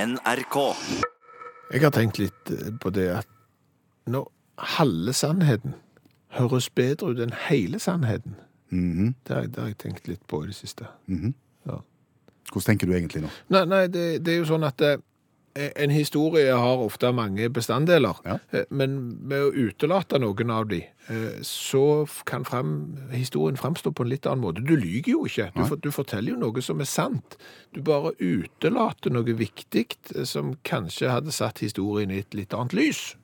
NRK. Jeg har tenkt litt eh, på det at når halve sannheten høres bedre ut enn hele sannheten Mhm, det, har, jeg- det har jeg tenkt litt på i det siste. Hvordan tenker du egentlig nå? Nei, nei det, det er jo sånn at eh, en historie har ofte mange bestanddeler, Ja. eh, men med å utelate noen av de, eh, så f- kan frem, historien fremstå på en litt annen måte. Du lyger jo ikke, du, for, du forteller jo noe som er sant. Du bare utelater noe viktig eh, som kanskje hadde satt historien i et litt annet lys.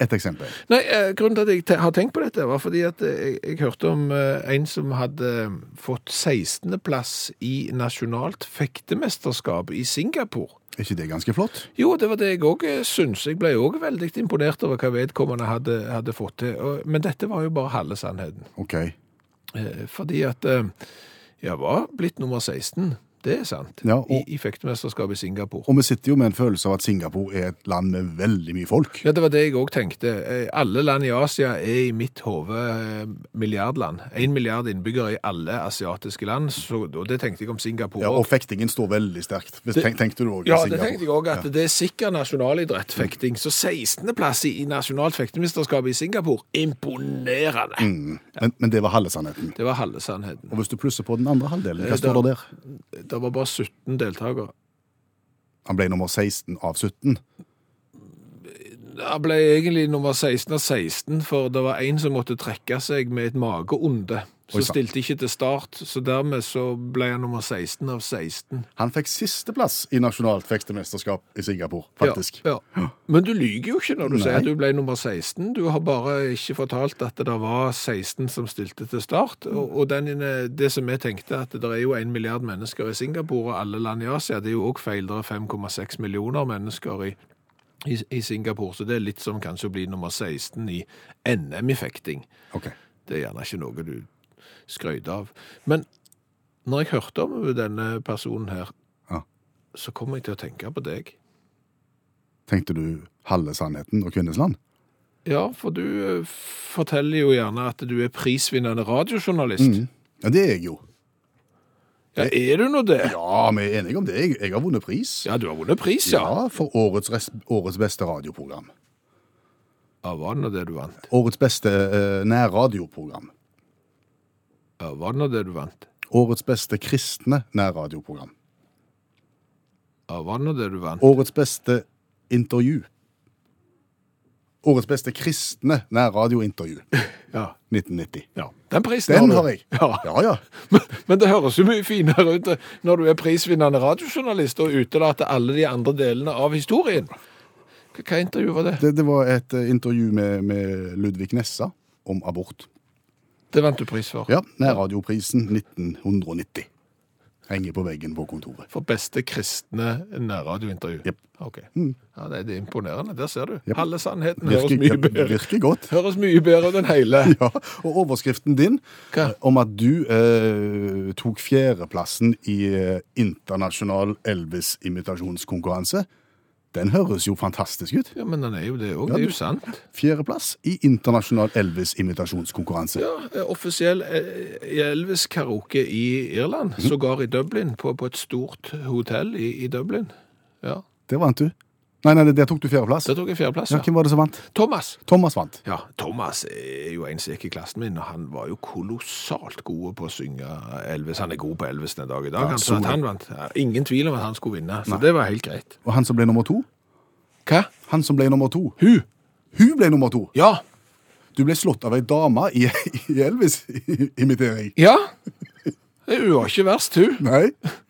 Et eksempel. Nei, eh, grunnen til at jeg te har tenkt på dette var fordi at eh, jeg, jeg hørte om eh, en som hadde eh, fått 16. plass i nasjonalt fektemesterskap i Singapore. Er ikke det ganske flott? Jo, det var det jeg òg syns. Jeg ble òg veldig imponert over hva vedkommende hadde, hadde fått til. Og- Men dette var jo bare halve sannheten. Ok. Eh, Fordi at eh, jeg var blitt nummer 16, det er sant, Ja, og- i, i fektemesterskapet i Singapore. Og vi sitter jo med en følelse av at Singapore er et land med veldig mye folk. Ja, det var det jeg òg tenkte. Eh, Alle land i Asia er i mitt hode eh, milliardland. Én milliard innbyggere i alle asiatiske land, så, og det tenkte jeg om Singapore Ja, òg. og fektingen står veldig sterkt. Hvis, Det- tenk, tenkte du også Ja, i det Singapore? tenkte jeg òg, at det er sikker nasjonalidrett, fekting. Så 16.-plass i i nasjonalt fektemesterskap i Singapore, imponerende! Mm. Men, men det var halve sannheten. Det var halve sannheten. Og hvis du plusser på den andre halvdelen, Eh, hva står da- det der? Det var bare 17 deltakere. Han ble nummer 16 av 17. Det ble egentlig nummer 16 av 16, for det var en som måtte trekke seg med et mageonde. Så Oi, sant. stilte ikke til start, så dermed så ble han nummer 16 av 16. Han fikk sisteplass i nasjonalt fektemesterskap i Singapore, faktisk. Ja, ja. Men du lyger jo ikke når du Nei. sier at du ble nummer 16. Du har bare ikke fortalt at det var 16 som stilte til start. Og, og den, inne- det som jeg tenkte, at det er jo en milliard mennesker i Singapore og alle land i Asia, det er jo også feil. Det er 5,6 millioner mennesker i, i, i Singapore, så det er litt som kanskje å bli nummer 16 i NM i fekting. Ok. Det er gjerne ikke noe du skrøyder av. Men når jeg hørte om denne personen her, Ja. så kom jeg til å tenke på deg. Tenkte du halve sannheten og kvinnesland? Ja, for du eh, forteller jo gjerne at du er prisvinnende Mm. radiojournalist. Ja, det er jeg jo. Ja, er du nå det? Ja, vi er enige om det. Jeg, jeg har vunnet pris. Ja, du har vunnet pris, ja. Ja, for årets, res- årets beste radioprogram. Ja, var det nå det du vant? Årets beste eh, nærradioprogram. Ja, var det nå det du vant? Årets beste kristne nærradioprogram. Ja, var det nå det du vant? Årets beste intervju. Årets beste kristne nærradiointervju Ja. 1990. ja. Den prisen Den har har du. jeg. Ja. ja. Men, men det høres jo mye finere ut eh, når du er prisvinnende radiojournalist og utelater alle de andre delene av historien. Hva, hva intervju var det? Det, det var et eh, intervju med, med Ludvig Nessa om abort. Det vant du pris for. Ja, Nærradioprisen 1990. Henger på veggen på kontoret. For beste kristne nærradiointervju. Jepp. Ok. Ja, det det er imponerende. Der ser du. Jepp. Halve sannheten høres Mm. Virker, mye bedre virker godt. Høres mye bedre ut enn hele. Ja, og overskriften din Hva? om at du eh, tok fjerdeplassen i eh, internasjonal Elvis-imitasjonskonkurranse, den høres jo fantastisk ut. Ja, men den er jo det òg. Ja, det er du- jo sant. Fjerdeplass i internasjonal Elvis-imitasjonskonkurranse. Ja, eh, Offisiell eh, Elvis-karaoke i Irland. Sågar i Dublin, på, på et stort hotell i, i Dublin. Ja, Der vant du. Nei, nei, der tok du fjerdeplass. Der tok jeg fjerdeplass. Ja, Ja. hvem var det som vant? Thomas. Thomas vant. Ja, Thomas er jo en som gikk i klassen min, og han var jo kolossalt god på å synge Elvis. Han er god på Elvis den dag i dag. Ja, han, så at solid. han vant. Ja, ingen tvil om at han skulle vinne, så det var helt greit. Og han som ble nummer to? Hva? Han som ble nummer to. Hun? Hun ble nummer to. Ja. Du ble slått av ei dame i, i Elvis-imitering. Ja. Hun var ikke verst, hun. Nei?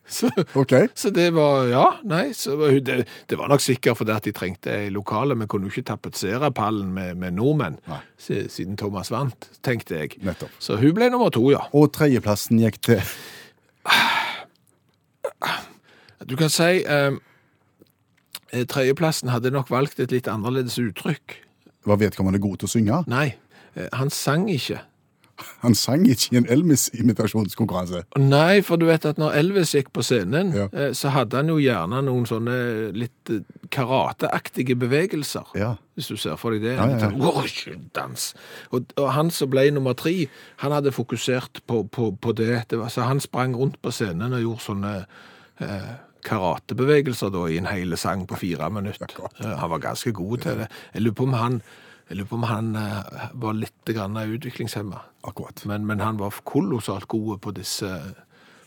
Så, OK. Så det var Ja, nei, så var hun- det, det var nok sikkert fordi at de trengte ei lokale. Vi kunne jo ikke tapetsere pallen med, med nordmenn Nei. si- siden Thomas vant, tenkte jeg. Nettopp. Så hun ble nummer to, ja. Og tredjeplassen gikk til Du kan si eh, eh, Tredjeplassen hadde nok valgt et litt annerledes uttrykk. Var vedkommende god til å synge? Nei, eh, han sang ikke. Han sang ikke i en Elvis-imitasjonskonkurranse. Nei, for du vet at når Elvis gikk på scenen, Ja. eh, så hadde han jo gjerne noen sånne litt eh, karateaktige bevegelser. Ja. Hvis du ser for deg det. Ja, ja, ja. Litt sånn, «Åh, ikke Dans. Og, og han som ble nummer tre, han hadde fokusert på, på, på det. det var, så han sprang rundt på scenen og gjorde sånne eh, karatebevegelser da, i en hel sang på fire minutter. Akkurat. Eh, Han var ganske god til det. Jeg lurer på om han, jeg lurer på om han eh, var litt grann utviklingshemma. Akkurat. Men, men han var kolossalt god på disse,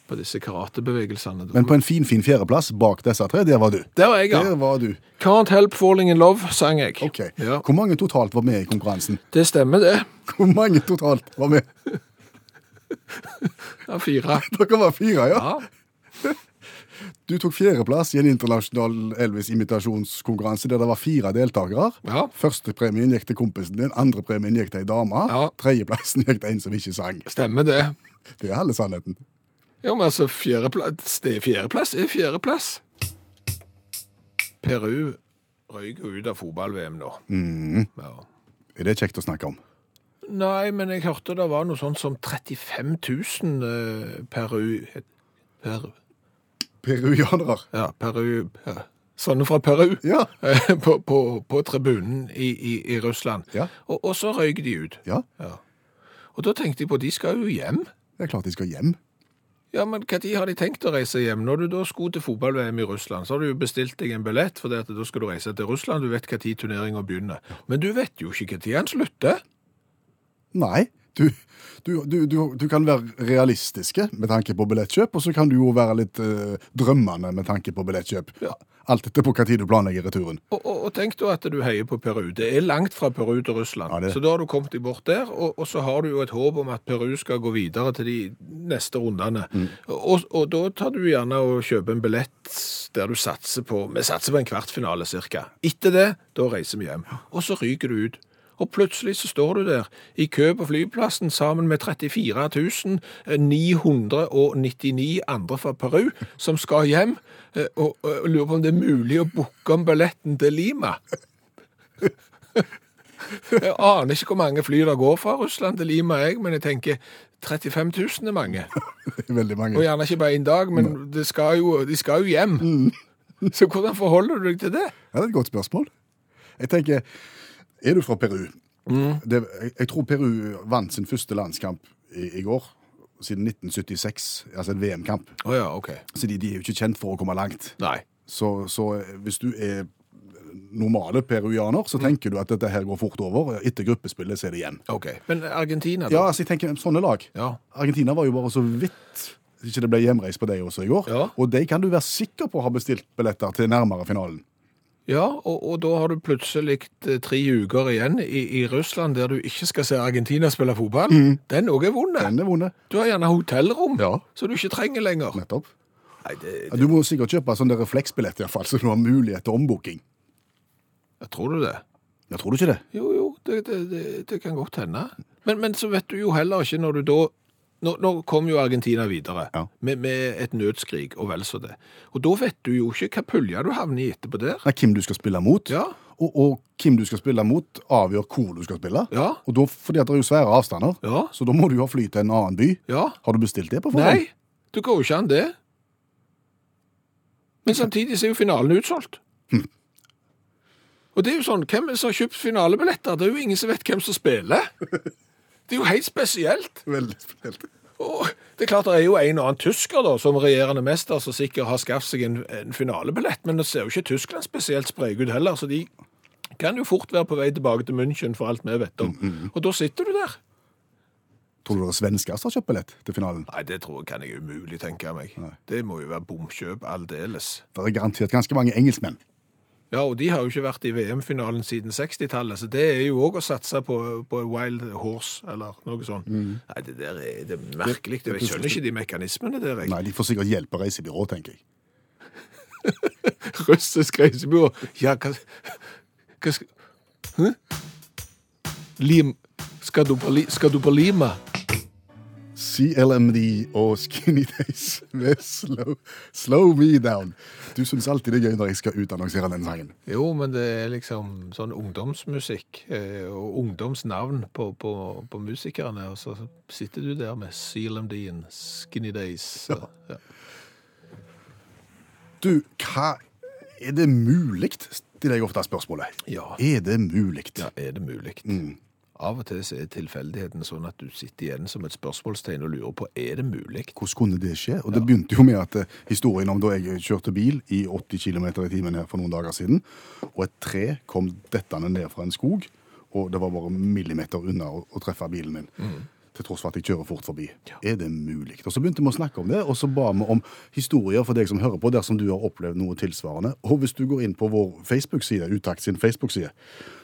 på disse karatebevegelsene. Men på en fin, fin fjerdeplass bak disse tre, der var du. Der var jeg, ja. Der var du. Can't Help Falling In Love sang jeg. Ok. Ja. Hvor mange totalt var med i konkurransen? Det stemmer det. Hvor mange totalt var med? Ja, fire. Dere var fire, ja. Ja. Du tok fjerdeplass i en internasjonal Elvis-imitasjonskonkurranse der det var fire deltakere. Ja. Førstepremien gikk til kompisen din, andrepremien gikk til ei dame. Ja. Tredjeplassen gikk til en som ikke sang. Stemmer det. Det er halve sannheten. Jo, men altså, fjerdeplass det er fjerdeplass er fjerdeplass. Peru røyk ut av fotball-VM nå. Ja. Mm. Er det kjekt å snakke om? Nei, men jeg hørte det var noe sånt som 35 000 eh, Peru Peru Peruanere. Ja, Peru ja. Sånne fra Peru Ja. eh, på, på, på tribunen i, i, i Russland. Ja. Og, og så røyk de ut. ja. Og da tenkte jeg på, de skal jo hjem. Det er klart de skal hjem. Ja, men hva tid har de tenkt å reise hjem? Når du da skulle til fotball-VM i Russland, så har du jo bestilt deg en billett, for det at da skal du reise til Russland, du vet hva tid turneringen begynner. Men du vet jo ikke hva tid han slutter. Nei. Du, du, du, du, du kan være realistiske med tanke på billettkjøp, og så kan du jo være litt eh, drømmende med tanke på billettkjøp. Ja. Alt etter på hva tid du planlegger returen. Og, og, og tenk da at du heier på Peru. Det er langt fra Peru til Russland. Ja, det- Så da har du kommet deg bort der, og, og så har du jo et håp om at Peru skal gå videre til de neste rundene. Og, og da tar du gjerne og kjøper en billett der du satser på Vi satser på en kvartfinale cirka. Etter det, da reiser vi hjem. Og så ryker du ut. Og plutselig så står du der i kø på flyplassen sammen med 34 999 andre fra Peru som skal hjem, eh, og, og lurer på om det er mulig å booke om billetten til Lima. Jeg aner ikke hvor mange fly der går fra Russland til Lima, jeg, men jeg tenker 35 000 er mange. Det er Veldig mange. Og gjerne ikke bare én dag, men det skal jo, de skal jo hjem. Så hvordan forholder du deg til det? Ja, det er et godt spørsmål. Jeg tenker, er du fra Peru? Mm. Det, jeg, jeg tror Peru vant sin første landskamp i, i går, siden 1976, altså en VM-kamp. Å ja, OK. Så de, de er jo ikke kjent for å komme langt. Nei. Så, så eh, hvis du er normale peruaner, Mm. så tenker du at dette her går fort over. Etter gruppespillet så er det igjen. OK. Men Argentina, da? Ja, altså jeg tenker sånne lag. Ja. Argentina var jo bare så vidt ikke det ble hjemreis på deg også i går. Ja. Og de kan du være sikker på har bestilt billetter til nærmere finalen. Ja, og, og da har du plutselig eh, tre uker igjen i, i Russland der du ikke skal se Argentina spille fotball. Mm. Den òg er vond. Den er vonde. Du har gjerne hotellrom Ja. som du ikke trenger lenger. Nettopp. Nei, det, Ja, Du må sikkert kjøpe sånn der refleksbillett, i hvert fall, så du har mulighet til ombooking. jeg tror du det? Ja, tror du ikke det? Jo, jo, det, det, det, det kan godt hende. Men, men så vet du jo heller ikke når du da Nå, nå kom jo Argentina videre Ja. med, med et nødskrig og vel så det. Og da vet du jo ikke hva pulje du havner i etterpå der. Nei, hvem du skal spille mot, Ja, og, og hvem du skal spille mot, avgjør hvor du skal spille. ja, Og da, fordi at det er jo svære avstander, ja. så da må du jo ha fly til en annen by. ja. Har du bestilt det på forhånd? Nei, det går jo ikke an det. Men samtidig så er jo finalen utsolgt. Og det er jo sånn, hvem er det som har kjøpt finalebilletter? Det er jo ingen som vet hvem som spiller. Det er jo helt spesielt. Veldig spesielt. Og det er klart det er jo en og annen tysker da, som regjerende mester som sikkert har skaffet seg en, en finalebillett, men det ser jo ikke Tyskland spesielt sprek ut heller, så de kan jo fort være på vei tilbake til München for alt vi vet om. Og da sitter du der. Tror du det er svensker som har kjøpt billett til finalen? Nei, det tror jeg kan jeg umulig tenke meg. Det må jo være bomkjøp aldeles. Det er garantert ganske mange engelskmenn. Ja, og de har jo ikke vært i VM-finalen siden 60-tallet, så det er jo òg å satse på, på wild horse eller noe sånt. Nei, det der er, Mm. det er merkelig. Jeg skjønner ikke de mekanismene der. Jeg. Nei, de får sikkert hjelp av reisebyrå, tenker jeg. russisk reisebyrå. Ja, hva, hva skal Hæ? Lim skal du, på li, skal du på Lima? CLMD og Skinny Days med Slow, slow Me Down. Du syns alltid det er gøy når jeg skal utannonsere den sangen. Jo, men det er liksom sånn ungdomsmusikk eh, og ungdomsnavn på, på, på musikerne, og så sitter du der med CLMD-en, Skinny Days. og- Ja. Du, hva Er det mulig? stiller jeg ofte spørsmålet. Ja. Mm. Er det mulig? ja, er det mulig? Av og til så er tilfeldigheten sånn at du sitter igjen som et spørsmålstegn og lurer på er det mulig. Hvordan kunne det skje? Og det begynte jo med at eh, historien om da jeg kjørte bil i 80 km i timen her for noen dager siden, og et tre kom dettende ned fra en skog, og det var bare millimeter unna å, å treffe bilen min. Til tross for at jeg kjører fort forbi. Er det mulig? Og Så begynte vi å snakke om det, og så ba vi om historier for deg som hører på, dersom du har opplevd noe tilsvarende. Og hvis du går inn på vår Facebook-side, Utakt sin Facebook-side,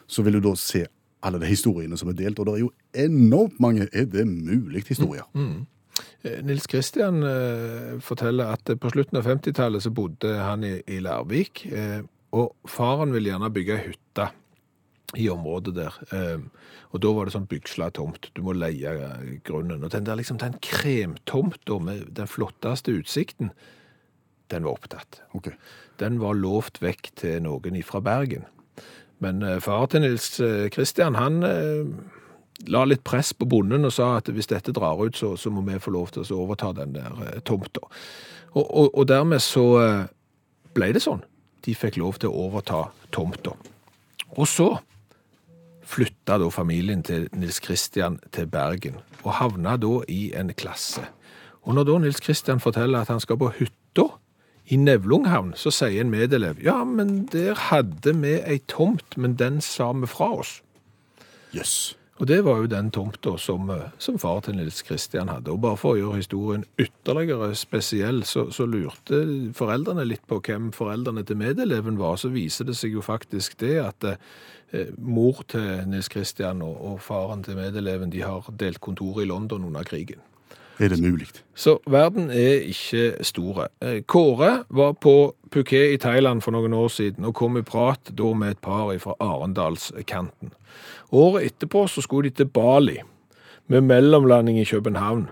så vil du da se alle de historiene som er delt, og det er jo enormt mange er det mulig-historier. Eh, Nils Kristian eh, forteller at eh, på slutten av 50-tallet så bodde han i, i Lærvik, eh, og faren ville gjerne bygge ei hytte i området der. Eh, og da var det sånn bygsla tomt, du må leie eh, grunnen. Og den der liksom, den kremtomta med den flotteste utsikten, den var opptatt. Ok. Den var lovt vekk til noen ifra Bergen. Men eh, far til Nils eh, Kristian, han eh, la litt press på bonden og sa at hvis dette drar ut, så, så må vi få lov til å overta den der eh, tomta. Og, og, og dermed så eh, ble det sånn. De fikk lov til å overta tomta. Og så flytta da familien til Nils Kristian til Bergen, og havna da i en klasse. Og når da Nils Kristian forteller at han skal på hytta i Nevlunghavn, så sier en medelev ja, men der hadde vi ei tomt, men den sa vi fra oss. Jøss. Og det var jo den tomta som, eh, som far til Nils Kristian hadde. Og bare for å gjøre historien ytterligere spesiell, så, så lurte foreldrene litt på hvem foreldrene til medeleven var. Så viser det seg jo faktisk det at eh, eh, mor til Nils Kristian og, og faren til medeleven de har delt kontor i London under krigen. Er det mulig? Så verden er ikke store. Eh, Kåre var på Phuket i Thailand for noen år siden og kom i prat da med et par fra Arendalskanten. Året etterpå så skulle de til Bali med mellomlanding i København.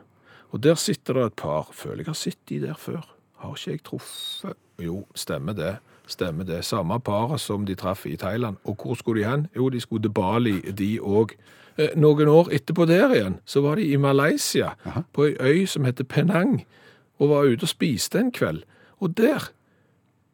Og der sitter det et par. Føler jeg har sett de der før. Har ikke jeg truffet Jo, stemmer det. Stemmer det. Samme paret som de traff i Thailand. Og hvor skulle de hen? Jo, de skulle til Bali, de òg. Eh, Noen år etterpå der igjen, så var de i Malaysia, på ei øy som heter Penang, og var ute og spiste en kveld. Og der,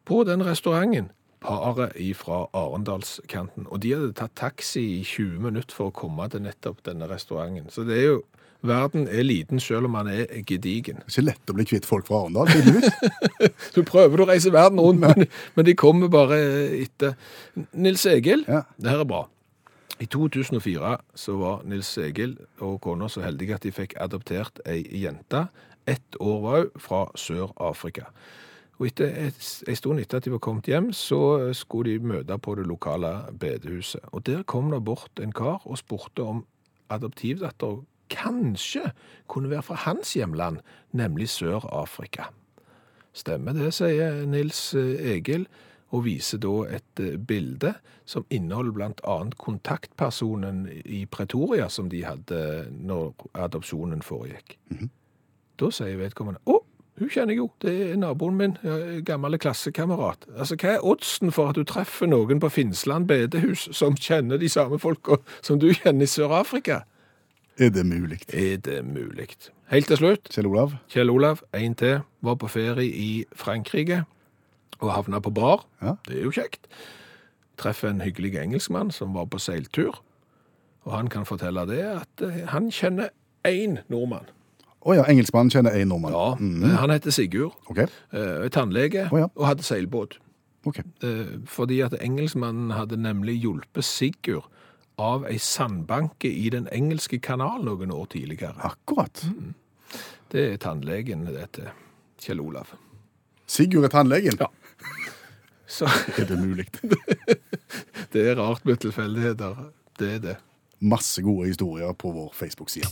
på den restauranten, paret ifra Arendalskanten. Og de hadde tatt taxi i 20 minutter for å komme til nettopp denne restauranten. Så det er jo Verden er liten selv om man er gedigen. Det er ikke lett å bli kvitt folk fra Arendal, tydeligvis. Du prøver å reise verden rundt, men, men de kommer bare etter. Nils Egil, Ja. det her er bra. I 2004 så var Nils Egil og kona så heldige at de fikk adoptert ei jente. Ett år var hun fra Sør-Afrika. Og etter et- En stund etter at de var kommet hjem, så skulle de møte på det lokale bedehuset. Og Der kom det bort en kar og spurte om adoptivdatter kanskje kunne være fra hans hjemland, nemlig Sør-Afrika. Stemmer det, sier Nils eh, Egil, og viser da et eh, bilde som inneholder bl.a. kontaktpersonen i Pretoria som de hadde når adopsjonen foregikk. Da sier vedkommende å, hun kjenner jeg jo, det er naboen min, ja, gammel klassekamerat. Altså, Hva er oddsen for at du treffer noen på Finnsland bedehus som kjenner de samme folka som du kjenner i Sør-Afrika? Er det mulig? Er det mulig? Helt til slutt, Kjell Olav? Kjell Olav, en til, var på ferie i Frankrike og havna på bar. Ja. Det er jo kjekt. Treffer en hyggelig engelskmann som var på seiltur, og han kan fortelle det at eh, han kjenner én nordmann. Å ja, engelskmannen kjenner én nordmann. Ja, Mm. eh, Han heter Sigurd, Ok, eh, er tannlege Å ja. og hadde seilbåt. ok. Eh, Fordi at engelskmannen hadde nemlig hjulpet Sigurd av ei sandbanke i den engelske kanal noen år tidligere. Akkurat. Det er tannlegen, det til Kjell Olav. Sigurd er tannlegen. Ja. Så... Er det mulig? Det er rart med tilfeldigheter. Det er det. Masse gode historier på vår Facebook-side.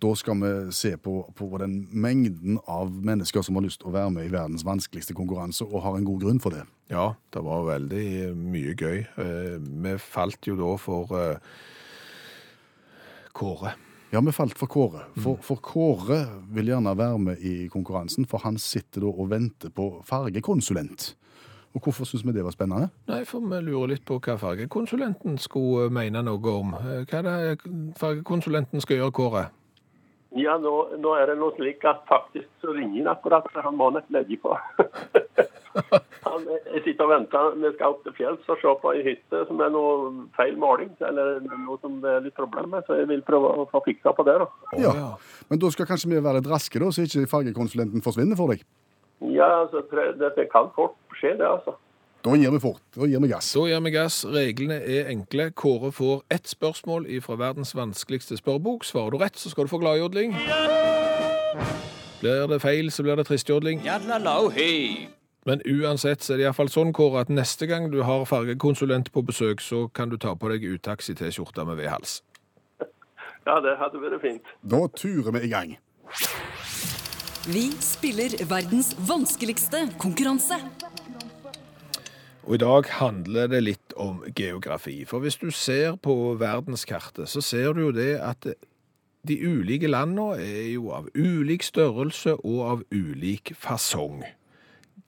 Da skal vi se på, på den mengden av mennesker som har lyst til å være med i verdens vanskeligste konkurranse, og har en god grunn for det. Ja, det var veldig mye gøy. Eh, Vi falt jo da for eh, Kåre. Ja, vi falt for Kåre. For, for Kåre vil gjerne være med i konkurransen, for han sitter da og venter på fargekonsulent. Og hvorfor syns vi det var spennende? Nei, for vi lurer litt på hva fargekonsulenten skulle mene noe om. Eh, Hva er det fargekonsulenten skal gjøre, Kåre? Ja, nå, nå er det noe slik at faktisk så ringer han akkurat for han må nett legge på. Han, jeg sitter og venter. Vi skal opp til fjells og se på ei hytte som er noe feil maling. Eller noe som det er litt problem med. Så jeg vil prøve å få fiksa på det. da. Ja. Men da skal kanskje vi være litt raske, da, så ikke fargekonsulenten forsvinner for deg. Ja, altså, prø- det, det kan fort skje, det, altså. Da gir vi fort. Da gir vi gass. Da gir vi gass. Reglene er enkle. Kåre får ett spørsmål fra verdens vanskeligste spørrebok. Svarer du rett, så skal du få gladjodling. Blir det feil, så blir det tristjodling. Men uansett så er det iallfall sånn, Kåre, at neste gang du har fargekonsulent på besøk, så kan du ta på deg utaxi-T-skjorte med V-hals. Ja, det hadde vært fint. Da turer vi i gang. Vi spiller verdens vanskeligste konkurranse. Og i dag handler det litt om geografi. For hvis du ser på verdenskartet, så ser du jo det at de ulike landene er jo av ulik størrelse og av ulik fasong.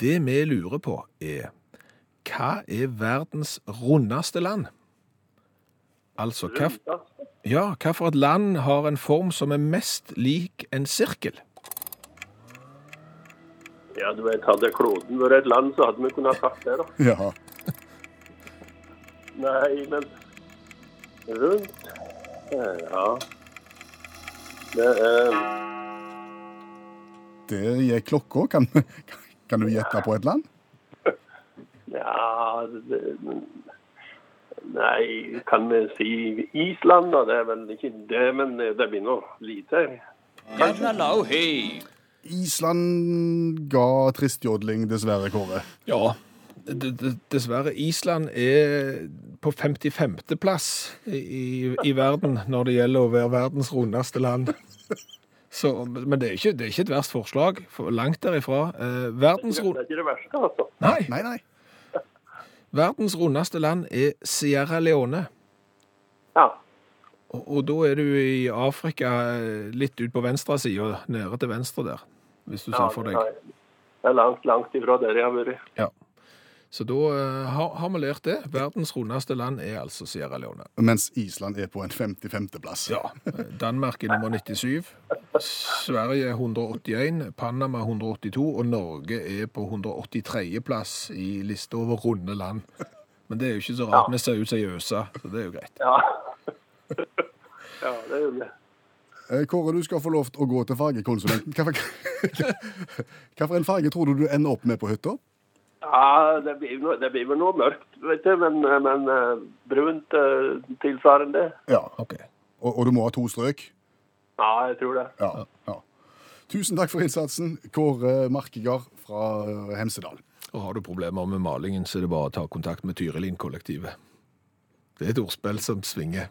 Det vi lurer på er, hva er verdens rundeste land? Altså, hva, Ja. ja, hva for et land har en form som er mest lik en sirkel? Ja, du vet, Hadde kloden vært et land, så hadde vi kunnet sagt det. da. Ja. Nei, men rundt Ja. Det er Der gir klokka. Kan, kan du gjette på et land? Ja det, Nei, kan vi si Island? da? Det er vel ikke det, men det blir nå lite. Island ga tristjodling, dessverre, Kåre. Ja, d- d- dessverre. Island er på 55. plass i, i verden når det gjelder å være verdens rundeste land. Så, men det er, ikke, det er ikke et verst forslag. For langt derifra. Eh, verdens, Det ru- er ikke det verste, altså. nei, Nei, nei. verdens rundeste land er Sierra Leone. Ja. Og, og da er du i Afrika eh, litt ut på venstre side, nede til venstre der. Hvis du ja ser for deg. Det er langt, langt ifra der jeg har vært. Ja. Så da eh, har, har vi lært det. Verdens rundeste land er altså Sierra Leone. Mens Island er på en 55.-plass. Ja. Danmark er nummer 97, Sverige 181, Panama 182, og Norge er på 183. plass i lista over runde land. Men det er jo ikke så rart, vi ser ut som ei øse, så det er jo greit. Ja. ja, det er jo det. Eh, Kåre, du skal få lov til å gå til fargekonsulenten. Hva for- Hva for en farge tror du du ender opp med på hytta? Ja, det blir, noe, det blir vel noe mørkt, vet du, men, men eh, brunt eh, tilsvarende. Ja. Ok. Og, og du må ha to strøk? Ja, jeg tror det. Ja. ja. Tusen takk for innsatsen, Kåre Markegard fra eh, Hemsedal. Og har du problemer med malingen, så er det bare å ta kontakt med Tyrilin-kollektivet. Det er et ordspill som svinger.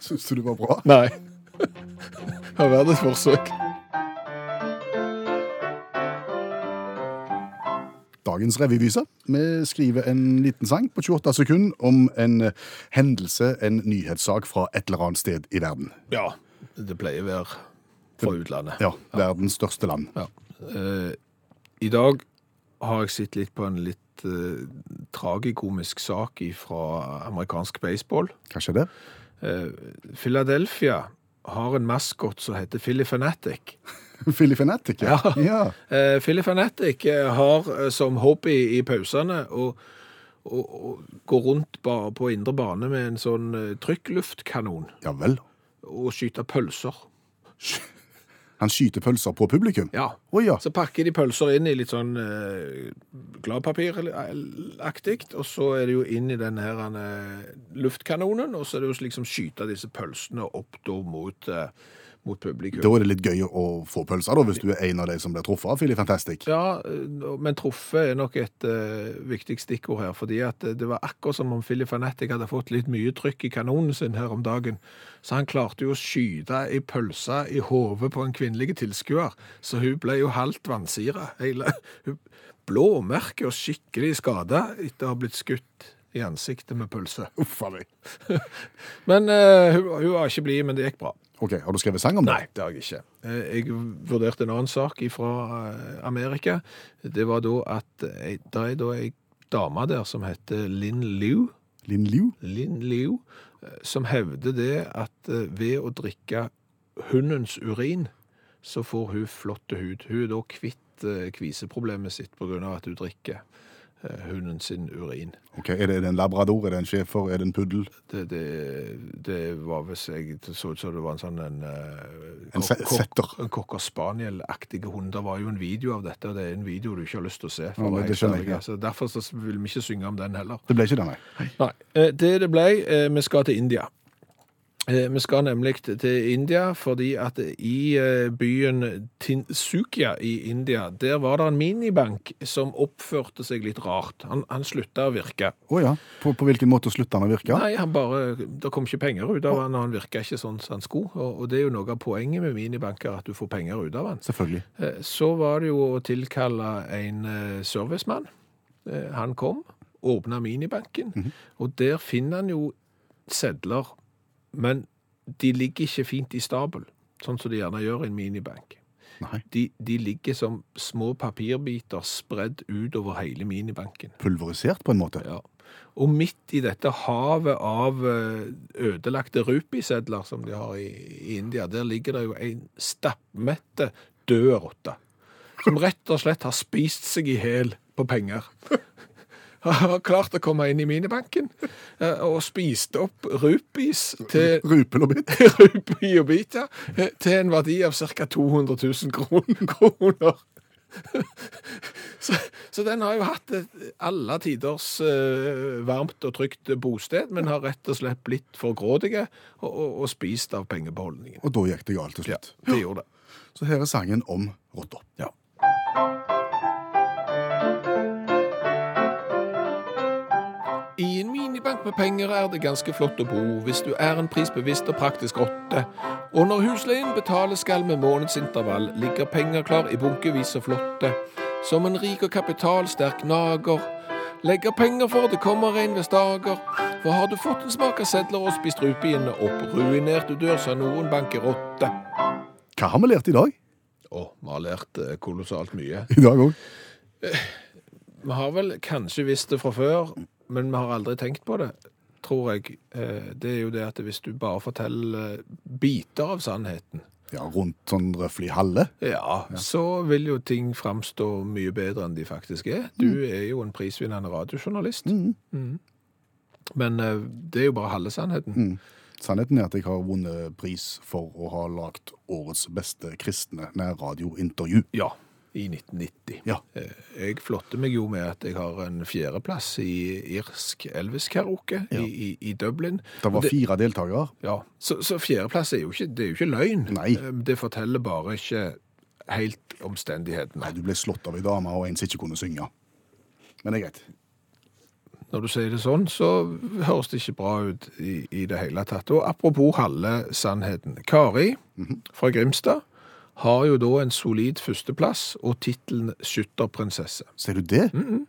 Syns du det var bra? Nei. Har verdens forsøk. Dagens revyvise. Vi skriver en liten sang på 28 sekunder om en eh, hendelse, en nyhetssak fra et eller annet sted i verden. Ja. Det pleier å være fra utlandet. Ja, verdens største land. Ja. Eh, I dag har jeg sett litt på en litt eh, tragikomisk sak fra amerikansk baseball. Hva skjedde? Eh, Philadelphia har en maskot som heter Philly Fanatic. Philly Fanatic, ja. Ja. ja. Eh, Philly Fanatic eh, har eh, som hobby i pausene å å- å gå rundt ba- på indre bane med en sånn eh, trykkluftkanon Ja vel. og skyte pølser. Han skyter pølser på publikum? Ja. Å ja. Så pakker de pølser inn i litt sånn eh, gladpapiraktig, og så er det jo inn i den her eh, luftkanonen, og så er det jo liksom skyte disse pølsene opp da mot, eh, mot publikum. Da er det litt gøy å få pølser, da, hvis du er en av de som blir truffet av Philly Fantastic. Ja, eh, men truffet er nok et eh, viktig stikkord her, fordi at eh, det var akkurat som om Philip Fanatic hadde fått litt mye trykk i kanonen sin her om dagen, så han klarte jo å skyte ei pølse i hodet på en kvinnelig tilskuer, så hun ble jo halvt vannsira. Hele- Hun blåmerke og skikkelig skada etter å ha blitt skutt i ansiktet med pølse. Uff a meg. Men eh, hun, hun var ikke blid, men det gikk bra. OK, har du skrevet sang om det? Nei, det har jeg ikke. Eh, Jeg vurderte en annen sak fra Amerika. Det var da at eh, det er da ei dame der som heter Linn Liu, Linn Liu? Lin Liu eh, som hevder det at eh, ved å drikke hundens urin, så får hun flott hud. Hun er da kvitt eh, kviseproblemet sitt pga. at hun drikker. eh, hunden sin urin. Ok, Er det er det en labrador, er det en schæfer, er det en puddel? Det, det, det var hvis jeg det så ut som det var en sånn en eh, En se- kokk- setter. En cocker spaniel-aktige hund. Det var jo en video av dette, og det er en video du ikke har lyst til å se. for Ja, å være det helt skjønner jeg ærlig. ikke. Så derfor så vil vi ikke synge om den heller. Det ble ikke det, nei. Nei. eh, Det det ble, eh, vi skal til India. Eh, Vi skal nemlig til India, fordi at i eh, byen Tinsukia i India, der var det en minibank som oppførte seg litt rart. Han, han slutta å virke. Å ja. På, på hvilken måte slutta han å virke? Nei, han bare, det kom ikke penger ut av han, og han virka ikke sånn som han skulle. Og, og det er jo noe av poenget med minibanker, at du får penger ut av han. Selvfølgelig. Eh, Så var det jo å tilkalle en eh, servicemann. Eh, Han kom, åpna minibanken, og der finner han jo sedler, men de ligger ikke fint i stabel, sånn som de gjerne gjør i en minibank. Nei. De, de ligger som små papirbiter spredd utover hele minibanken. Pulverisert, på en måte. Ja. Og midt i dette havet av eh, ødelagte rupisedler som de har i, i India, der ligger det jo en stappmette død rotte. Som rett og slett har spist seg i hjel på penger. Har klart å komme inn i minibanken eh, og spist opp rupis til Rupel og bitt. rupi og bita eh, til en verdi av ca. 200 000 kron- kroner. Så, så den har jo hatt et alle tiders eh, varmt og trygt bosted, men har rett og slett blitt for grådige og, og, og spist av pengebeholdningen. Og da gikk det galt til Ja, slutt. det gjorde det. Så her er sangen om rotta. Ja. I en minibank med penger er det ganske flott å bo, hvis du er en prisbevisst og praktisk rotte. Og når husleien betales skal med månedsintervall, ligger penger klar i bunkevis og flotte. Som en rik og kapitalsterk nager. Legger penger for det kommer regnværsdager. For har du fått en smak av sedler og spist rupiene opp, ruinert du dør, sa noen bankerotte. Hva har vi lært i dag? Å, vi har lært eh, kolossalt mye. I dag òg. Vi har vel kanskje visst det fra før, men vi har aldri tenkt på det, tror jeg. Eh, Det er jo det at hvis du bare forteller biter av sannheten, Ja, rundt sånn røffelig halve. ja, så vil jo ting framstå mye bedre enn de faktisk er. Du Mm. er jo en prisvinnende radiojournalist. Mhm. Men eh, det er jo bare halve sannheten. Mm. Sannheten er at jeg har vunnet pris for å ha lagd årets beste kristne nærradiointervju. Ja, i 1990. Ja. Eh, Jeg flotter meg jo med at jeg har en fjerdeplass i irsk Elvis-karaoke i, i, i Dublin. Det var fire deltakere. Ja, Så, så fjerdeplass er jo ikke, det er jo ikke løgn. Nei. Eh, Det forteller bare ikke helt omstendighetene. Nei, du ble slått av ei dame og en som ikke kunne synge. Men det er greit. Når du sier det sånn, så høres det ikke bra ut i, i det hele tatt. Og apropos halve sannheten. Kari fra Grimstad har jo da en solid førsteplass og tittelen skytterprinsesse. Ser du det? Mm.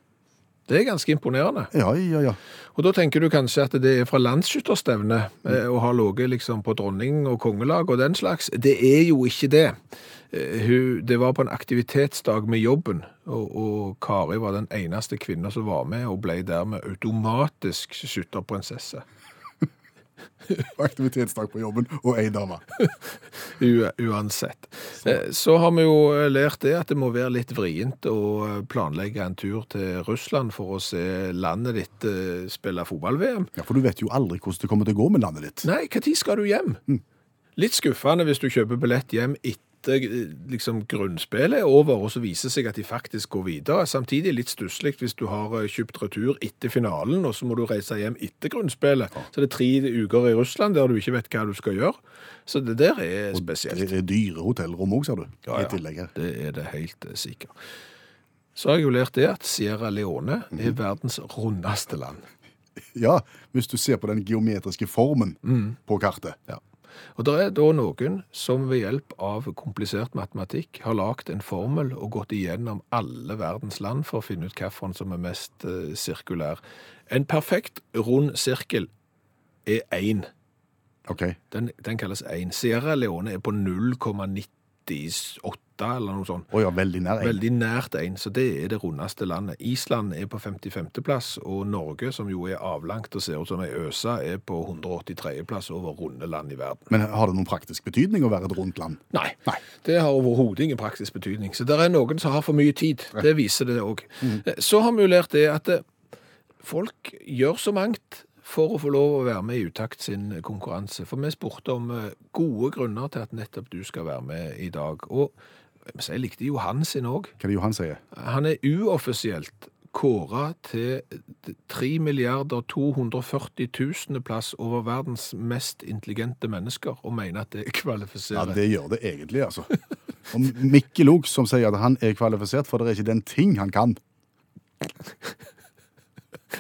Det er ganske imponerende. Ja, ja, ja. Og da tenker du kanskje at det er fra landsskytterstevne eh, og har ligget liksom på dronning og kongelag og den slags. Det er jo ikke det. Eh, Hun, det var på en aktivitetsdag med jobben, og, og Kari var den eneste kvinna som var med, og ble dermed automatisk skytterprinsesse. Aktivitetsdag på jobben og ei dame. U uansett. Eh, Så har vi jo eh, lært det at det må være litt vrient å eh, planlegge en tur til Russland for å se landet ditt eh, spille fotball-VM. Ja, For du vet jo aldri hvordan det kommer til å gå med landet ditt. Nei, når skal du hjem? Litt skuffende hvis du kjøper billett hjem etter eh, liksom, grunnspillet er over, og så viser det seg at de faktisk går videre. Samtidig litt stusslig hvis du har eh, kjøpt retur etter finalen, og så må du reise hjem etter grunnspillet. Så det er tre uker i Russland der du ikke vet hva du skal gjøre. Så det der er spesielt. Det er dyre hotellrom òg, ser du. Ja, ja. I tillegg her. Det er det helt eh, sikkert. Så har jeg jo lært det at Sierra Leone er verdens rundeste land. Ja, hvis du ser på den geometriske formen Mm. på kartet. Og det er da noen som ved hjelp av komplisert matematikk har lagd en formel og gått igjennom alle verdens land for å finne ut hvilken som er mest eh, sirkulær. En perfekt rund sirkel er én. Ok. Den, den kalles én. Sierra Leone er på 0,98 Malta eller noe sånt. Å ja, veldig nær. en. Veldig nært én, så det er det rundeste landet. Island er på 55.-plass, og Norge, som jo er avlangt og ser ut som ei øse, er på 183.-plass over runde land i verden. Men har det noen praktisk betydning å være et rundt land? Nei. Det har overhodet ingen praktisk betydning. Så det er noen som har for mye tid. Det viser det òg. Så har vi jo lært det at eh, folk gjør så mangt for å få lov å være med i Utakt sin konkurranse. For vi spurte om eh, gode grunner til at nettopp du skal være med i dag. Og eh, så jeg likte Johan sin òg. Hva er det Johan sier? Han er uoffisielt kåret til 3 milliarder 240 000 plass over verdens mest intelligente mennesker, og mener at det Ja, kvalifiserer. det gjør det egentlig, altså. Og Mikkel òg, som sier at han er kvalifisert, for det er ikke den ting han kan.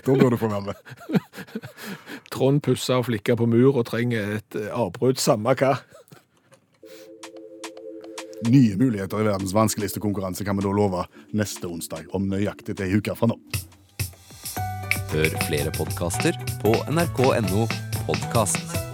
Da bør du få være med. Trond pusser og flikker på mur og trenger et eh, avbrudd, samme hva. Nye muligheter i verdens vanskeligste konkurranse kan vi da love neste onsdag, om nøyaktig ei uke fra nå. Hør flere podkaster på nrk.no podkast.